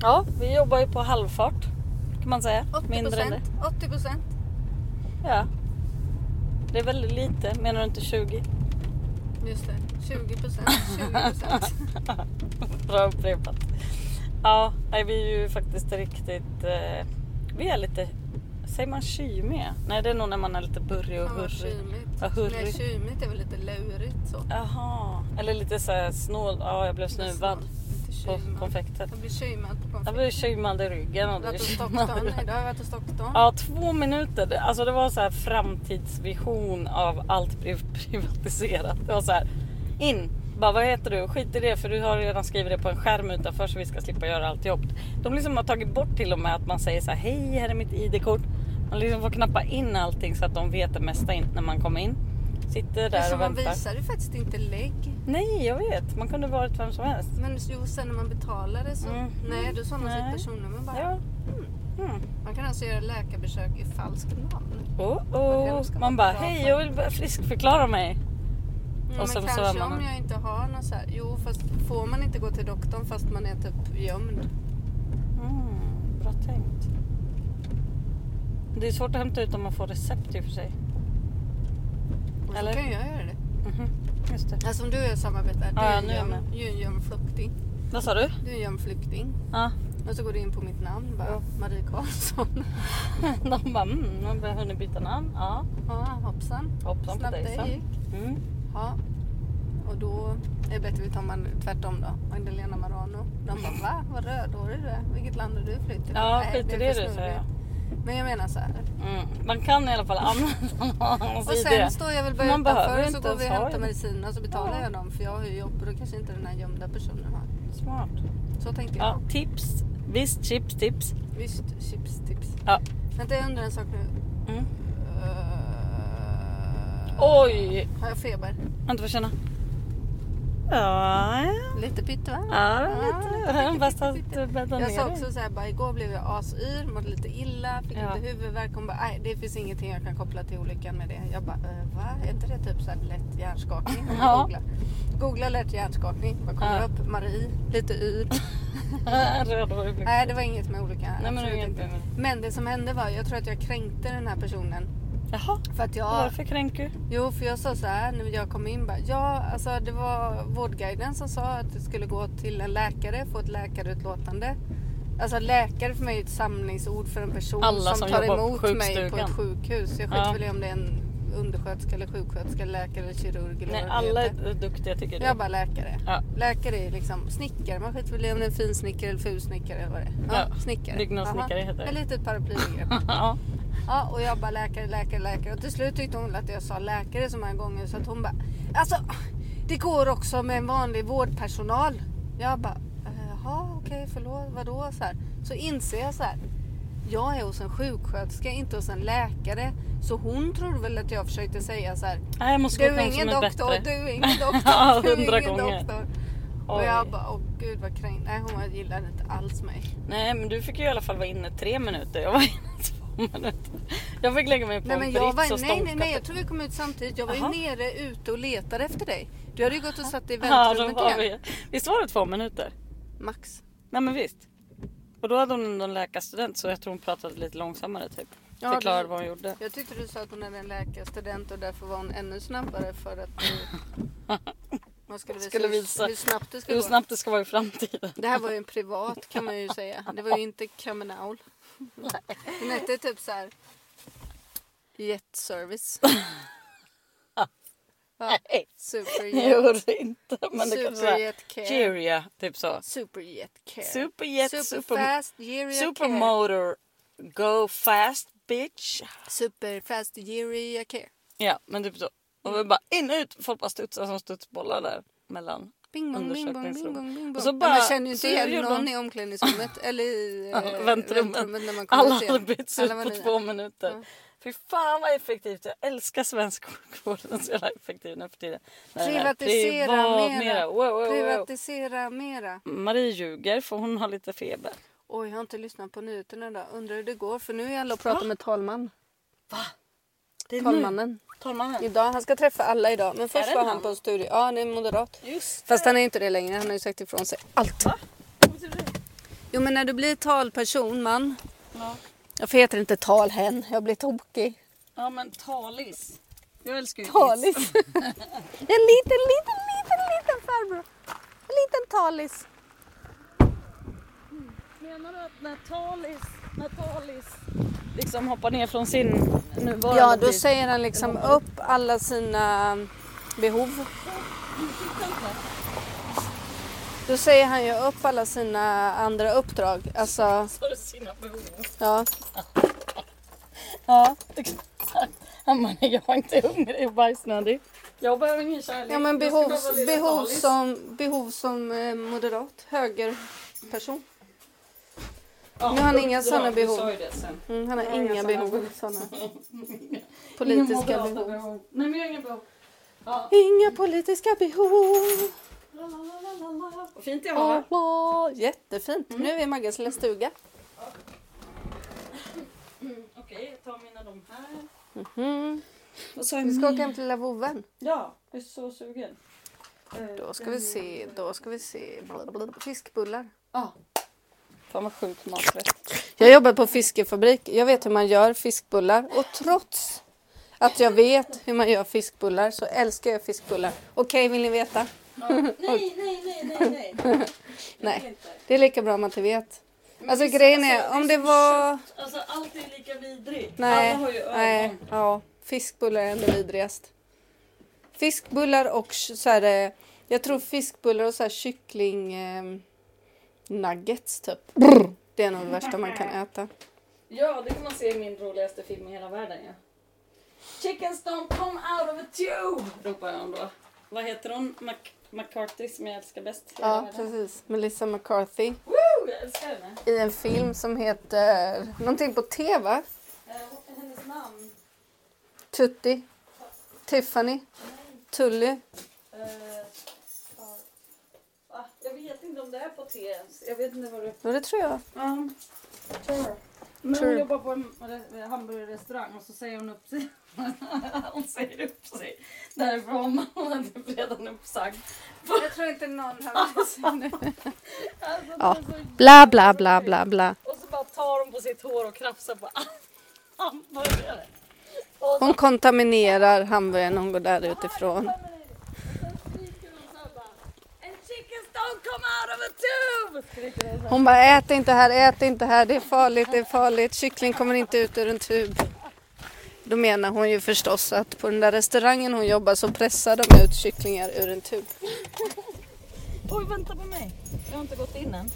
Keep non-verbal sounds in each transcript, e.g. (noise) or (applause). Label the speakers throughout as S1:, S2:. S1: Ja, vi jobbar ju på halvfart kan man säga.
S2: 80
S1: Mindre än det.
S2: procent. 80 procent.
S1: Ja. Det är väldigt lite, menar du inte 20?
S2: Just det. 20 procent. 20 procent.
S1: (laughs) Bra upprepat. Ja, nej, vi är ju faktiskt riktigt... Eh, vi är lite... Säger man kymiga? Nej, det är nog när man är lite burrig och
S2: Fan vad
S1: hurrig.
S2: kymigt.
S1: Vad hurrig.
S2: Nej, kymigt är väl lite lurigt så.
S1: Jaha. Eller lite så här snål. Ja, jag blev snuvad
S2: Inte
S1: på
S2: kymad.
S1: konfektet.
S2: Jag blir kymad på
S1: Jag blev
S2: konfekt.
S1: kymad i ryggen. Och
S2: Jag har
S1: det
S2: varit hos
S1: kymade-
S2: doktorn idag. Jag har varit hos doktorn.
S1: Ja, två minuter. Det- Alltså det var så här framtidsvision av allt blev (laughs) privatiserat. Det var så här, in, bara vad heter du? Skit i det för du har redan skrivit det på en skärm utanför så vi ska slippa göra allt jobb. De liksom har tagit bort till och med att man säger så här, hej här är mitt ID-kort. Man liksom får knappa in allting så att de vet det mesta in när man kommer in. Sitter där
S2: Alltså,
S1: och
S2: man
S1: väntar.
S2: visar ju faktiskt inte lägg.
S1: Nej, jag vet. Man kunde varit vem som helst.
S2: Men jo, sen när man betalade så...
S1: Mm.
S2: Nej, då sa man
S1: Nej.
S2: sitt personnummer bara.
S1: Ja. Mm.
S2: Man kan alltså göra läkarbesök i falskt namn.
S1: Oh,
S2: Vem
S1: oh.
S2: ska
S1: Man
S2: man
S1: bara,
S2: dra
S1: hej
S2: för?
S1: jag vill bara friskförklara mig.
S2: Mm,
S1: Och
S2: men
S1: sen så
S2: kanske
S1: är man-
S2: om jag inte har någon så här... Jo, fast får man inte gå till doktorn fast man är typ gömd?
S1: Mm, bra tänkt. Det är svårt att hämta ut om man får recept i och för sig.
S2: Och så
S1: Eller?
S2: kan jag göra det.
S1: Mhm, Just det.
S2: Alltså om du och jag samarbetar. Du
S1: Ja,
S2: är
S1: nu är jag
S2: en
S1: med.
S2: gömd- du är en gömd flykting.
S1: Vad sa du?
S2: Du är en gömd flykting.
S1: Ja. (laughs)
S2: Och så går du in på mitt namn bara.
S1: Ja.
S2: Marie Karlsson. (laughs)
S1: De bara, mm, man har hunnit byta namn. Ja,
S2: Ja, hoppsan.
S1: hoppsan på
S2: Snabbt
S1: dig
S2: det
S1: sen.
S2: gick.
S1: Mm.
S2: Ja. Och då är det bättre om man tvärtom då. Magdalena Marano. De bara va? Vad rödhårig du är. Vilket land har du flytt till?
S1: Ja,
S2: Nej,
S1: skit i
S2: är
S1: det
S2: för
S1: du säger jag.
S2: snurrigt. Men jag menar så här.
S1: Mm. Man kan i alla fall använda (laughs) någons
S2: Och
S1: idé.
S2: sen står jag väl
S1: Man
S2: bara
S1: behöver
S2: utanför och så
S1: inte
S2: går vi och
S1: ens ha
S2: hämtar
S1: det.
S2: medicinerna och så betalar
S1: Ja.
S2: jag dem för jag har ju jobb och då kanske inte den här gömda personen har.
S1: Smart.
S2: Så tänker jag.
S1: Ja, tips. Visst, chips, tips.
S2: Visst, chips, tips.
S1: Ja.
S2: Vänta jag undrar en sak nu.
S1: Mm.
S2: Eh,
S1: Oj!
S2: Har jag feber?
S1: Vänta, får jag känna? Ja, ja.
S2: Lite pytte va?
S1: Ja, lite.
S2: Ah, pytte,
S1: Bäst att
S2: pytte,
S1: du bäddar ner
S2: Jag sa
S1: dig. (laughs)
S2: också så här, bara, igår blev jag asyr, mådde lite illa, fick
S1: Ja.
S2: lite huvudvärk. Hon bara, nej det finns ingenting jag kan koppla till olyckan med det. Jag bara, eh, va? Är inte det typ så här
S1: (laughs)
S2: lätt hjärnskakning? Hon
S1: Ja.
S2: Googla. Googla lätt hjärnskakning. Vad kommer
S1: Ja.
S2: upp? Marie, lite yr.
S1: Rödhårig blick.
S2: (laughs) nej det var inget med olyckan.
S1: Nej, men det
S2: absolut
S1: var inget
S2: inte.
S1: med olyckan.
S2: men det som hände var, jag tror att jag kränkte den här personen.
S1: Jaha,
S2: För att jag...
S1: varför kränker du?
S2: Jo, för jag sa så här när jag kom in. Bara, ja, alltså det var vårdguiden som sa att du skulle gå till en läkare, få ett läkarutlåtande. Alltså läkare för mig är ett samlingsord för en person
S1: Alla som
S2: tar
S1: jobbar på
S2: emot mig på
S1: sjukstugan.
S2: ett sjukhus. Jag skiter
S1: Ja.
S2: väl i om det är en undersköterska eller sjuksköterska, läkare eller kirurg eller
S1: Nej,
S2: vad det
S1: alla
S2: heter.
S1: är duktiga tycker du.
S2: Jag bara läkare.
S1: Ja.
S2: Läkare är liksom snickare. Man skiter väl i om det är en finsnickare eller fulsnickare eller vad det är. Ja,
S1: Ja,
S2: Snickare.
S1: byggnadssnickare
S2: Jaha.
S1: heter det.
S2: Ett litet paraplybegrepp.
S1: (laughs) ja.
S2: Ja, och jag bara läkare, läkare, läkare. Och till slut tyckte hon att jag sa läkare så många gånger så att hon bara Alltså, det går också med en vanlig vårdpersonal. Jag bara, jaha okej förlåt, vadå? Så, här. så inser jag så här. Jag är hos en sjuksköterska, inte hos en läkare. Så hon tror väl att jag försökte säga så här.
S1: Nej, jag måste
S2: Du
S1: gå till
S2: är
S1: någon som
S2: ingen
S1: är
S2: doktor,
S1: bättre. (laughs)
S2: du är ingen
S1: Ja,
S2: doktor, du
S1: hundra
S2: är ingen
S1: gånger.
S2: doktor. Och
S1: Oj.
S2: jag bara, åh gud vad kränkt. Nej hon gillade inte alls mig.
S1: Nej, men du fick ju i alla fall vara inne tre minuter. Jag var inne två minuter. Jag fick lägga mig på
S2: Nej,
S1: en
S2: men jag
S1: brits och
S2: var, nej, nej, nej, jag
S1: ståndkaffe.
S2: tror vi kom ut samtidigt. Jag var
S1: Jaha.
S2: ju nere ute och letade efter dig. Du hade ju gått och satt i
S1: Ja, då
S2: väntrummet
S1: var
S2: igen.
S1: vi. Visst var det två minuter?
S2: Max.
S1: Nej, men visst. Och då hade hon någon läkarstudent så jag tror hon pratade lite långsammare typ.
S2: Ja,
S1: Förklarade
S2: det-
S1: vad hon gjorde.
S2: Jag tyckte du sa att hon hade en läkarstudent och därför var hon ännu snabbare för att du...
S1: (laughs)
S2: Man skulle visa,
S1: Skulle
S2: hur-
S1: visa
S2: hur snabbt det skulle
S1: Hur
S2: gå.
S1: snabbt det ska vara i framtiden.
S2: Det här var ju en privat kan man ju säga. Det var ju inte
S1: (laughs)
S2: Kamenaul. Den hette typ så här...
S1: (laughs)
S2: Jetservice. Ja,
S1: (laughs) Nej, det
S2: Superjet.
S1: gjorde det inte. Men det kanske var
S2: Superjet care.
S1: Cheeria, typ så.
S2: Superjet care.
S1: Superjet, super,
S2: Superfast Yuri Care.
S1: supermotor, go fast bitch.
S2: Superfast Yuri Care.
S1: Ja, men typ så. Och vi
S2: Mm.
S1: bara in ut. Folk bara studsar som studsbollar där mellan.
S2: Bing bong, bing bong, bing bong, bing bong.
S1: Och så
S2: Ja,
S1: bara-
S2: man känner ju inte
S1: så
S2: igen
S1: gjorde
S2: någon
S1: de-
S2: i omklädningsrummet eller
S1: (laughs)
S2: i eh,
S1: väntrummet.
S2: när man kommer
S1: Alla
S2: ut
S1: hade
S2: igen.
S1: bytts ut
S2: Alla var
S1: på
S2: nya. Mm.
S1: två minuter.
S2: Ja.
S1: Fy fan vad effektivt. Jag älskar svensk sjukvård. Den är så jävla effektiv nu för tiden. Nej, nej,
S2: Privatisera
S1: privat
S2: mera.
S1: mera. Wow, wow, wow.
S2: Privatisera mera.
S1: Marie ljuger för hon har lite feber.
S2: Oj, jag har inte lyssnat på nyheterna idag. Undrar hur det går för nu är alla och pratar med talman.
S1: Det är
S2: Talmannen.
S1: Talmannen.
S2: Idag, han ska träffa alla idag. Men
S1: Är det
S2: först var
S1: han?
S2: han på en studie. Ja, han är moderat.
S1: Just
S2: Fast han är inte det längre. Han har ju sagt ifrån sig allt.
S1: Va?
S2: Jo men när du blir talperson man.
S1: Ja.
S2: Jag heter inte talhen, jag blir tokig.
S1: ja men talis. Jag älskar ju
S2: Talis. (laughs) en liten, liten, liten, liten farbror. En liten talis.
S1: Menar du att när talis, när talis liksom hoppar ner från sin nuvarande
S2: Ja, då
S1: tid-
S2: säger han liksom upp alla sina um, behov. Då säger han ju upp alla sina andra uppdrag. Alltså,
S1: Så har du sina behov.
S2: ja.
S1: Ja, exakt. Han bara, nej, jag är inte hungrig och bajsnödig. Jag behöver ingen kärlek.
S2: Ja, men
S1: Jag ska
S2: behov,
S1: bara vara lite
S2: behov,
S1: talis.
S2: som, behov som eh, moderat, högerperson.
S1: Ja,
S2: Nu har han inga
S1: uppdrag,
S2: såna
S1: du
S2: behov.
S1: sa ju det sen.
S2: Mm, han
S1: Jag
S2: har
S1: har inga
S2: inga
S1: sådana.
S2: behov. Såna.
S1: (laughs) Inga
S2: Politiska
S1: moderata
S2: behov.
S1: Nej, men jag har inga behov. Ja.
S2: Inga politiska behov.
S1: La, la, la, la, la. Vad Fint jag
S2: Åh,
S1: har.
S2: åh, jättefint. Nu är vi i Maggas lilla stuga.
S1: Okej, jag tar mina de här.
S2: Mm.
S1: Vad sa jag?
S2: Vi ska åka hem till lilla vovven.
S1: Ja, jag är så sugen. Eh,
S2: Då ska vi se, då ska vi se. Blablabla. Fiskbullar.
S1: Ja. Fan vad sjukt maträtt.
S2: Jag jobbar på fiskefabrik. Jag vet hur man gör fiskbullar. Och trots att jag vet hur man gör fiskbullar så älskar jag fiskbullar. Okej, vill ni veta?
S1: Nej, nej, nej, nej, nej.
S2: Nej.
S1: Det är inte.
S2: Det är lika bra om man inte vet.
S1: Men
S2: Alltså
S1: vissa-
S2: grejen är,
S1: alltså,
S2: om
S1: är
S2: det
S1: som
S2: var...
S1: kött. Alltså allt är lika vidrigt.
S2: Nej,
S1: Alla har ju ögon.
S2: nej, ja. Fiskbullar är ändå vidrigast. Fiskbullar och sh- så här, eh, jag tror fiskbullar och så här kyckling eh, nuggets typ. Det är nog det värsta man kan äta.
S1: Ja, det kan man se i min roligaste film i hela världen ja. Chickens don't come out of a tube! Ropar jag om då. Vad heter hon? Mac- McCarthy som jag älskar bäst i hela
S2: Ja,
S1: världen.
S2: precis. Melissa McCarthy
S1: Woo! Jag älskar henne.
S2: i en film som heter någonting på T
S1: Eh,
S2: va?
S1: vad är hennes namn?
S2: Tutti, Tiffany, Tully.
S1: Eh, ja. Va? jag vet inte om det är på T ens. Jag vet inte vad det är.
S2: Jo, det tror jag.
S1: Ja. Sure. Men hon
S2: Sure.
S1: jobbar på en re- hamburgerrestaurang och så säger hon upp sig. (laughs) hon säger upp sig därifrån. Hon är typ redan uppsagd. (laughs)
S2: Jag tror inte någon har nu.
S1: Alltså, det
S2: Ja.
S1: är så
S2: Bla, bla, bla, bla, bla.
S1: Och så bara tar hon på sitt hår och krafsar på (laughs) hamburgare. Och så
S2: Hon kontaminerar hamburgaren när hon går där utifrån.
S1: skriker hon så här bara And chickens don't come out of a tube! Skriker hon så här.
S2: Hon bara ät inte här, ät inte här, det är farligt, det är farligt. Kyckling kommer inte ut ur en tub. Då menar hon ju förstås att på den där restaurangen hon jobbar så pressar de ut kycklingar ur en tub.
S1: Oj, vänta på mig. Jag har inte gått in än.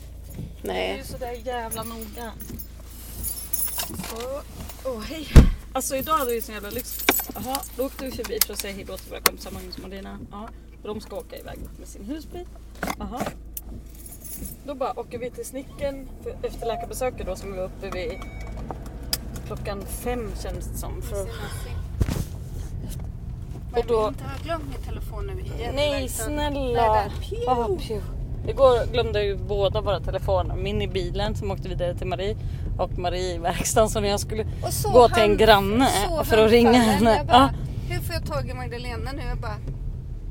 S1: Det är
S2: Nej.
S1: ju sådär jävla noga. Så. Åh, hej. Alltså idag hade vi sån jävla lyx. Jaha, då åkte vi förbi för att säga hejdå till våra kompisar Magnus och Marlena. Ja, för de ska åka iväg med sin husbil. Jaha. Då bara åker vi till Snicken för- efter läkarbesöket då som vi var uppe vid klockan fem känns det som. För... Och då...
S2: ha glömt min telefon nu igen.
S1: Nej snälla!
S2: Nej, där.
S1: Ah, pju. Igår glömde ju båda våra telefoner. Min i bilen som åkte vidare till Marie och Marie i verkstaden. Så när jag skulle
S2: Och så
S1: gå till en
S2: han-
S1: granne
S2: så
S1: för att ringa
S2: handfallen.
S1: henne.
S2: Jag
S1: Ja.
S2: bara, Hur får jag tag i Magdalena nu? Jag bara,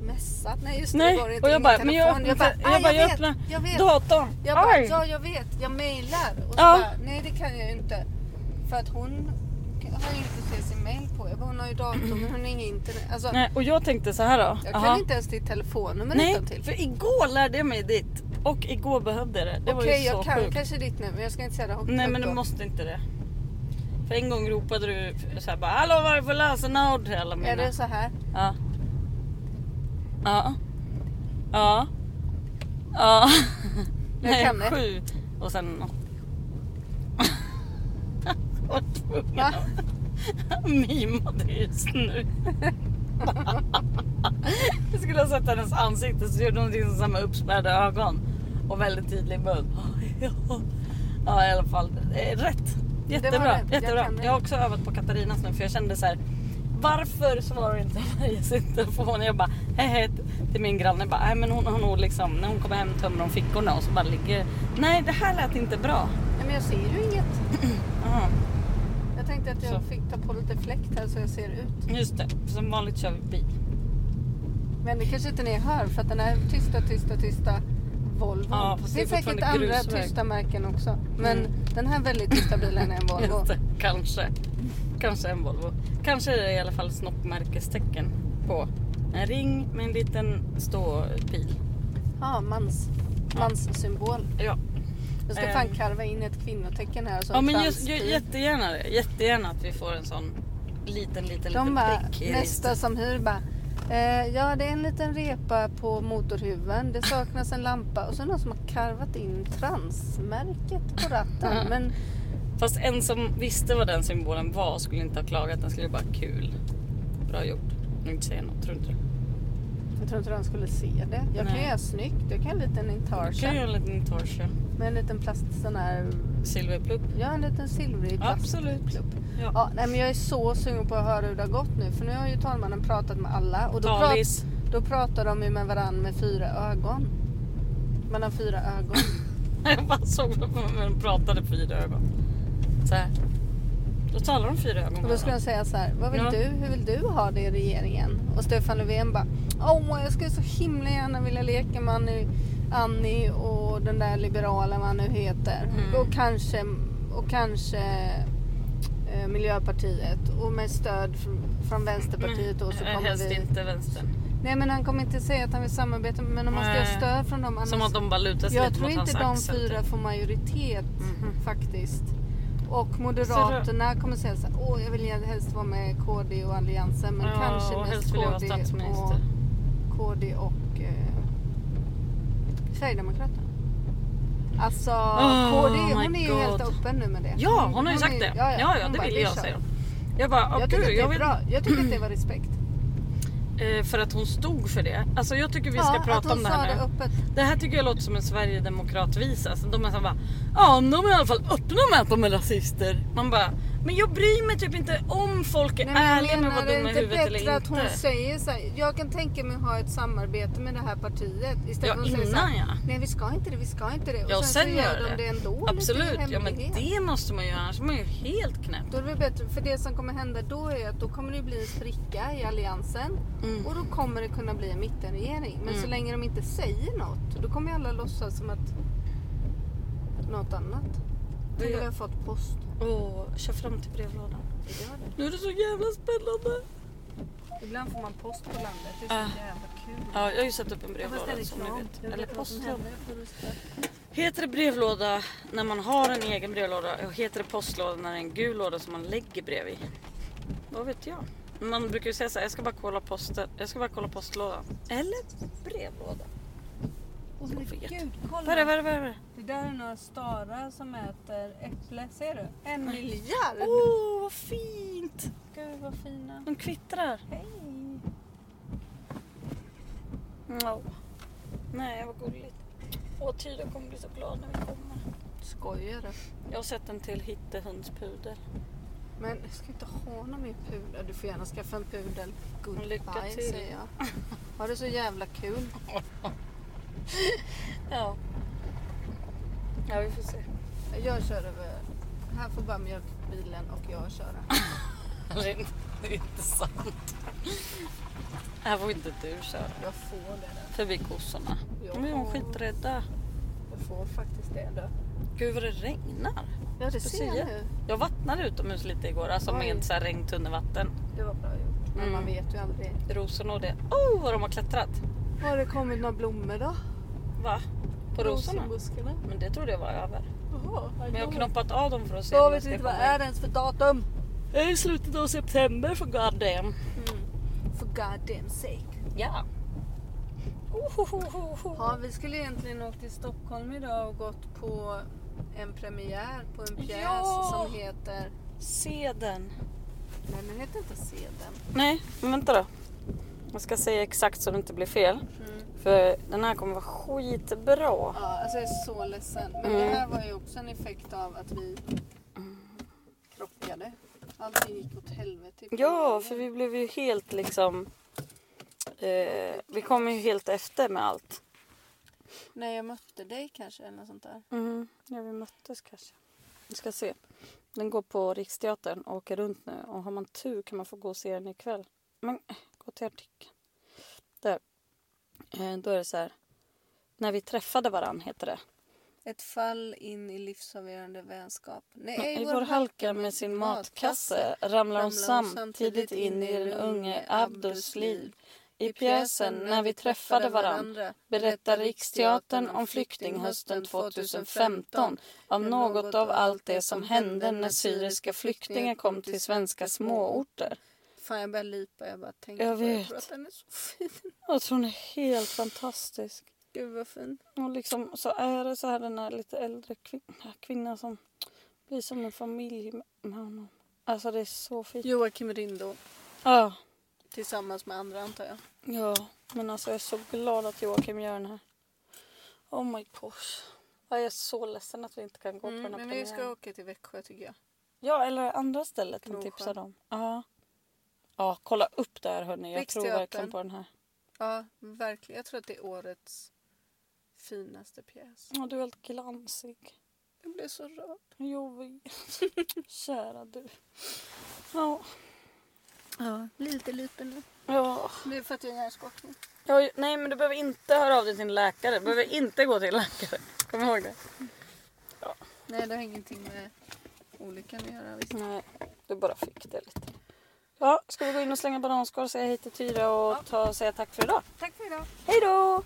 S2: mässa? Nej just det,
S1: Nej,
S2: det var inte
S1: och jag
S2: min
S1: bara, men
S2: telefon.
S1: jag öppnar, jag bara,
S2: "Ah,
S1: jag
S2: vet,
S1: öppnar
S2: jag vet.
S1: datorn.
S2: Jag bara,
S1: Aj.
S2: ja jag vet, jag mejlar. Och så
S1: Ja.
S2: bara, nej det kan jag ju inte. För att hon har inget att se sin mejl på. Jag bara, hon har ju dator men hon har inget internet. Alltså,
S1: Nej, och jag tänkte så här då.
S2: jag
S1: aha.
S2: kan inte ens ditt telefonnummer
S1: Nej,
S2: utantill.
S1: för igår lärde jag mig ditt och igår behövde jag det. Det var ju
S2: Okej
S1: så
S2: jag kan
S1: sjukt.
S2: kanske ditt nu men jag ska inte säga det högt
S1: Nej men du
S2: då.
S1: måste inte det. För en gång ropade du så här bara hallå vad är det för lösenord till alla mina?
S2: Är det så här?
S1: Ja. Ja. Ja. Ja.
S2: Jag
S1: Nej,
S2: kan det.
S1: Sju och sen något. (laughs) Vad tvungen
S2: Va?
S1: att mima det just nu. (laughs) Jag skulle ha sett hennes ansikte så gjorde hon liksom samma uppspärrade ögon och väldigt tydlig mun. (laughs) Ja i alla fall, Eh, rätt.
S2: Det var
S1: Jättebra.
S2: rätt. Jag
S1: Jättebra.
S2: kan det.
S1: Jag har också övat på Katarinas nu för jag kände så här. Varför svarar inte (laughs) Maria sin telefon? Jag bara hej hej till min granne. Jag Bara, nej men hon har nog liksom när hon kommer hem tömmer hon fickorna och så bara ligger. Nej det här lät inte bra.
S2: Nej men jag ser ju inget.
S1: Aha,
S2: Jag tänkte att jag
S1: Så.
S2: fick ta på lite fläkt här så jag ser ut.
S1: just det. Som vanligt kör vi bil.
S2: Men det kanske inte ni hör för att den här tysta, tysta, tysta Volvo.
S1: Ja, fast
S2: det är
S1: det är
S2: säkert andra
S1: fortfarande grusväg.
S2: tysta märken också. Men
S1: Mm.
S2: den här väldigt tysta bilen är en Volvo.
S1: (laughs) Just det. Kanske. Kanske en Volvo. Kanske är det i alla fall snoppmärkestecken på en ring med en liten ståpil.
S2: Ja, mans.
S1: Ja.
S2: Manssymbol.
S1: Ja,
S2: Jag ska
S1: Ehm.
S2: fan karva in ett kvinnotecken här och så typ.
S1: ja
S2: en
S1: men just,
S2: transpil.
S1: ju- jättegärna det. Jättegärna att vi får en sån liten, liten,
S2: De
S1: liten
S2: bara,
S1: prick i
S2: nästa
S1: registret.
S2: som hyr bara. Eh, ja, det är en liten repa på motorhuven. Det saknas en lampa och så är det någon som har karvat in transmärket på ratten. Men
S1: Fast en som visste vad den symbolen var skulle inte ha klagat. Den skulle bara kul. Bra gjort. Och inte säga något, tror inte du?
S2: jag tror inte de skulle se det. Jag kan
S1: Nej.
S2: göra snyggt. Jag kan göra en liten
S1: Du kan
S2: intarsia
S1: göra en liten torsion.
S2: med en liten plast sån här.
S1: Silverplupp.
S2: Ja, en liten silvrig plast.
S1: Absolut. Ja.
S2: Ja, nej, men jag är så sugen på att höra hur det har gått nu. För nu har ju talmannen pratat med alla. Och då, prat,
S1: Talis.
S2: då pratar de ju med varandra med fyra ögon. Man har fyra ögon.
S1: (laughs) Jag bara såg hur de pratade fyra ögon. Så här. Då talar de fyra ögon.
S2: Och då skulle de säga så här, vad vill
S1: Ja.
S2: du? Hur vill du ha det i regeringen? Och Stefan Löfven bara, åh jag skulle så himla gärna vilja leka med Annie, Annie och den där liberalen vad han nu heter.
S1: Mm.
S2: Och kanske, och kanske eh, Miljöpartiet. Och med stöd fr- från Vänsterpartiet då så
S1: Nej,
S2: kommer
S1: Mm. Helst
S2: vi...
S1: inte vänstern.
S2: Nej men han kommer inte säga att han vill samarbeta men om man ska ha
S1: Nej.
S2: stöd från dem annars...
S1: Som att de bara lutar sig
S2: jag
S1: lite
S2: tror
S1: mot hans
S2: inte de
S1: axel,
S2: fyra
S1: typ.
S2: får majoritet
S1: Mhm.
S2: faktiskt. Och Moderaterna kommer säga så här, åh jag vill gärna helst vara med KD och Alliansen men
S1: Ja,
S2: kanske
S1: och
S2: mest
S1: helst vill jag vara
S2: KD och,
S1: statsminister.
S2: KD och eh, Sverigedemokraterna. Alltså
S1: Oh
S2: KD
S1: my
S2: hon är ju
S1: God.
S2: helt öppen nu med det.
S1: Ja, hon har ju sagt
S2: är-
S1: det. Ja, ja,
S2: Mm, hon
S1: det
S2: bara,
S1: ville
S2: vi
S1: jag
S2: kör.
S1: säga. Jag bara, ah,
S2: Jag tycker
S1: gud,
S2: att det
S1: jag
S2: är
S1: vill,
S2: bra. Jag tycker att det var respekt.
S1: eh, för att hon stod för det. Alltså jag tycker vi ska
S2: ja, att
S1: prata
S2: hon
S1: om det
S2: sa
S1: här
S2: det
S1: nu.
S2: öppet.
S1: Det här tycker jag låter som en Sverigedemokratvisa. Alltså, de är så bara, ja om de är i alla fall öppna med att de är rasister. Man bara, men jag bryr mig typ inte om folk är
S2: Nej, men
S1: ärliga med vad
S2: det
S1: dumma i huvudet eller inte.
S2: att hon säger så här, jag kan tänka mig att ha ett samarbete med det här partiet. Istället
S1: Ja,
S2: för att säga så
S1: innan,
S2: här,
S1: ja.
S2: Nej vi ska inte det, vi ska inte det. Och
S1: Ja,
S2: sen, så
S1: sen
S2: gör
S1: gör
S2: de
S1: det.
S2: det ändå.
S1: Absolut,
S2: lite i
S1: ja men
S2: hemlighet.
S1: det måste man göra annars är man ju helt knäpp.
S2: Då är det bättre, för det som kommer hända då är att då kommer det bli en spricka i alliansen.
S1: Mm.
S2: Och då kommer det kunna bli en mittenregering. Men så
S1: Mm.
S2: länge de inte säger något, då kommer ju alla låtsas som att något annat. Tänk om vi har fått post.
S1: Åh, kör fram till brevlådan.
S2: Vi gör det.
S1: Nu är det så jävla spännande.
S2: Ibland får man post på landet. Det är
S1: Ah.
S2: så jävla kul.
S1: Ja, jag har ju satt upp en
S2: Ja, fast det är
S1: brevlåda som ni
S2: reklam.
S1: vet.
S2: Jag
S1: Eller
S2: vet vad som
S1: postlåda.
S2: händer efter Rosberg.
S1: Heter det brevlåda när man har en egen brevlåda? Och heter det postlåda när det är en gul låda som man lägger bredvid? Vad vet jag? Man brukar ju säga så här, jag ska bara kolla posten. Jag ska bara kolla postlådan. Eller brevlåda.
S2: Åh,
S1: Så
S2: men
S1: fet.
S2: Gud,
S1: Vad är det,
S2: kolla!
S1: vad är det, vad är det?
S2: Det där är några starar som äter äpple. Ser du? En miljard!
S1: Åh, oh, vad fint!
S2: Gud vad fina.
S1: De kvittrar.
S2: Hej!
S1: Ja. Nej, vad gulligt. Åh, Tyra kommer bli så glad när vi kommer.
S2: Skojar du?
S1: Jag har sett en till hittehundspudel.
S2: Men jag ska inte ha någon mer pudel. Du får gärna skaffa en pudel.
S1: Lycka
S2: Goodbye
S1: till.
S2: säger jag. Ha det så jävla kul.
S1: Ja. Ja, vi får se.
S2: Jag kör över. Här får bara mjölkbilen och jag köra.
S1: (laughs) Det är inte- det är inte sant. Här får inte du köra.
S2: Jag får det. där.
S1: Förbi kossorna.
S2: Ja.
S1: De är ju skiträdda.
S2: Jag får faktiskt det. Då.
S1: Gud vad det regnar.
S2: Ja det
S1: Lucia.
S2: ser jag nu.
S1: Jag vattnade utomhus lite igår, alltså
S2: Oj.
S1: med så här regntunnevatten.
S2: Det var bra gjort. Men
S1: Mm.
S2: man vet ju aldrig.
S1: Rosorna och det. Oh, vad de har klättrat!
S2: Har det kommit några blommor då?
S1: Va? På rosorna?
S2: Rosenbuskarna?
S1: Men det trodde jag var över.
S2: Jaha.
S1: Men jag har knoppat av dem för att se
S2: Jag
S1: när
S2: vet
S1: ska
S2: inte vad
S1: komma
S2: är
S1: in.
S2: det ens för datum.
S1: Det är i slutet av september för god damn.
S2: For god damn sake.
S1: Ja. Oh, Ohohohoho.
S2: Ja, vi skulle egentligen åkt till Stockholm idag och gått på en premiär på en pjäs
S1: Ja.
S2: som heter...
S1: Se den.
S2: Nej, den heter inte Seden.
S1: Nej, men vänta då. Jag ska säga exakt så det inte blir fel.
S2: Mm.
S1: För den här kommer vara skitbra.
S2: Ja, alltså jag är så ledsen. Men
S1: Mm.
S2: det här var ju också en effekt av att vi krockade. Allting gick åt helvete. i
S1: Ja,
S2: premiären.
S1: för vi blev ju helt liksom... Eh, vi kom ju helt efter med allt.
S2: När jag mötte dig kanske eller något sånt där.
S1: Mm, ja, vi möttes kanske. Vi ska se. Den går på Riksteatern och åker runt nu. Och har man tur kan man få gå och se den ikväll. Men eh, gå till artikeln. Där. Eh, då är det så här. när vi träffade varann heter det.
S2: Ett fall in i livsavgörande vänskap.
S1: I vår halka med sin matkasse ramlar hon samtidigt in i den unge Abdus liv. I pjäsen När vi träffade varann berättar Riksteatern om flyktinghösten 2015 av något av allt det som hände när syriska flyktingar kom till svenska småorter.
S2: Fan, jag börjar lipa. Jag bara tänker
S1: Jag
S2: på det. Jag tror
S1: vet.
S2: att den är så fin.
S1: Jag
S2: (laughs)
S1: tror Alltså, hon är helt fantastisk.
S2: Gud vad fin.
S1: Och liksom, så är det så här den här lite äldre kvinnan, kvinnan som blir som en familj med honom. Alltså det är så fint.
S2: Joakim Rindo
S1: Ja,
S2: tillsammans med andra antar jag.
S1: ja, men alltså jag är så glad att Joakim gör den här. Oh my gosh. Ja, Jag är så ledsen att vi inte kan gå på
S2: Mm,
S1: den här
S2: men vi ska
S1: premiären.
S2: åka till Växjö tycker jag.
S1: Ja, eller andra stället han
S2: Gnosjö.
S1: tipsade om. Ja. Ja, kolla upp där hörni. Jag tror
S2: Riksteatern.
S1: verkligen på den här.
S2: Ja, verkligen. Jag tror att det är årets finaste pjäs.
S1: Ja, du är helt glansig.
S2: Jag blev så rörd.
S1: Jo, (laughs) vi- kära du. Ja,
S2: Ja, lite lite nu.
S1: ja.
S2: Det är för att jag är hjärnskakning.
S1: Ja, nej men du behöver inte höra av dig till en läkare. Du behöver inte gå till en läkare. Kom ihåg det.
S2: Nej, det har ingenting med olyckan att göra. Visst.
S1: Nej, du bara fick det lite. Ja, ska vi gå in och slänga bananskal, säga hej till Tyra och ta, säga tack för idag?
S2: Tack för idag.
S1: Hej då!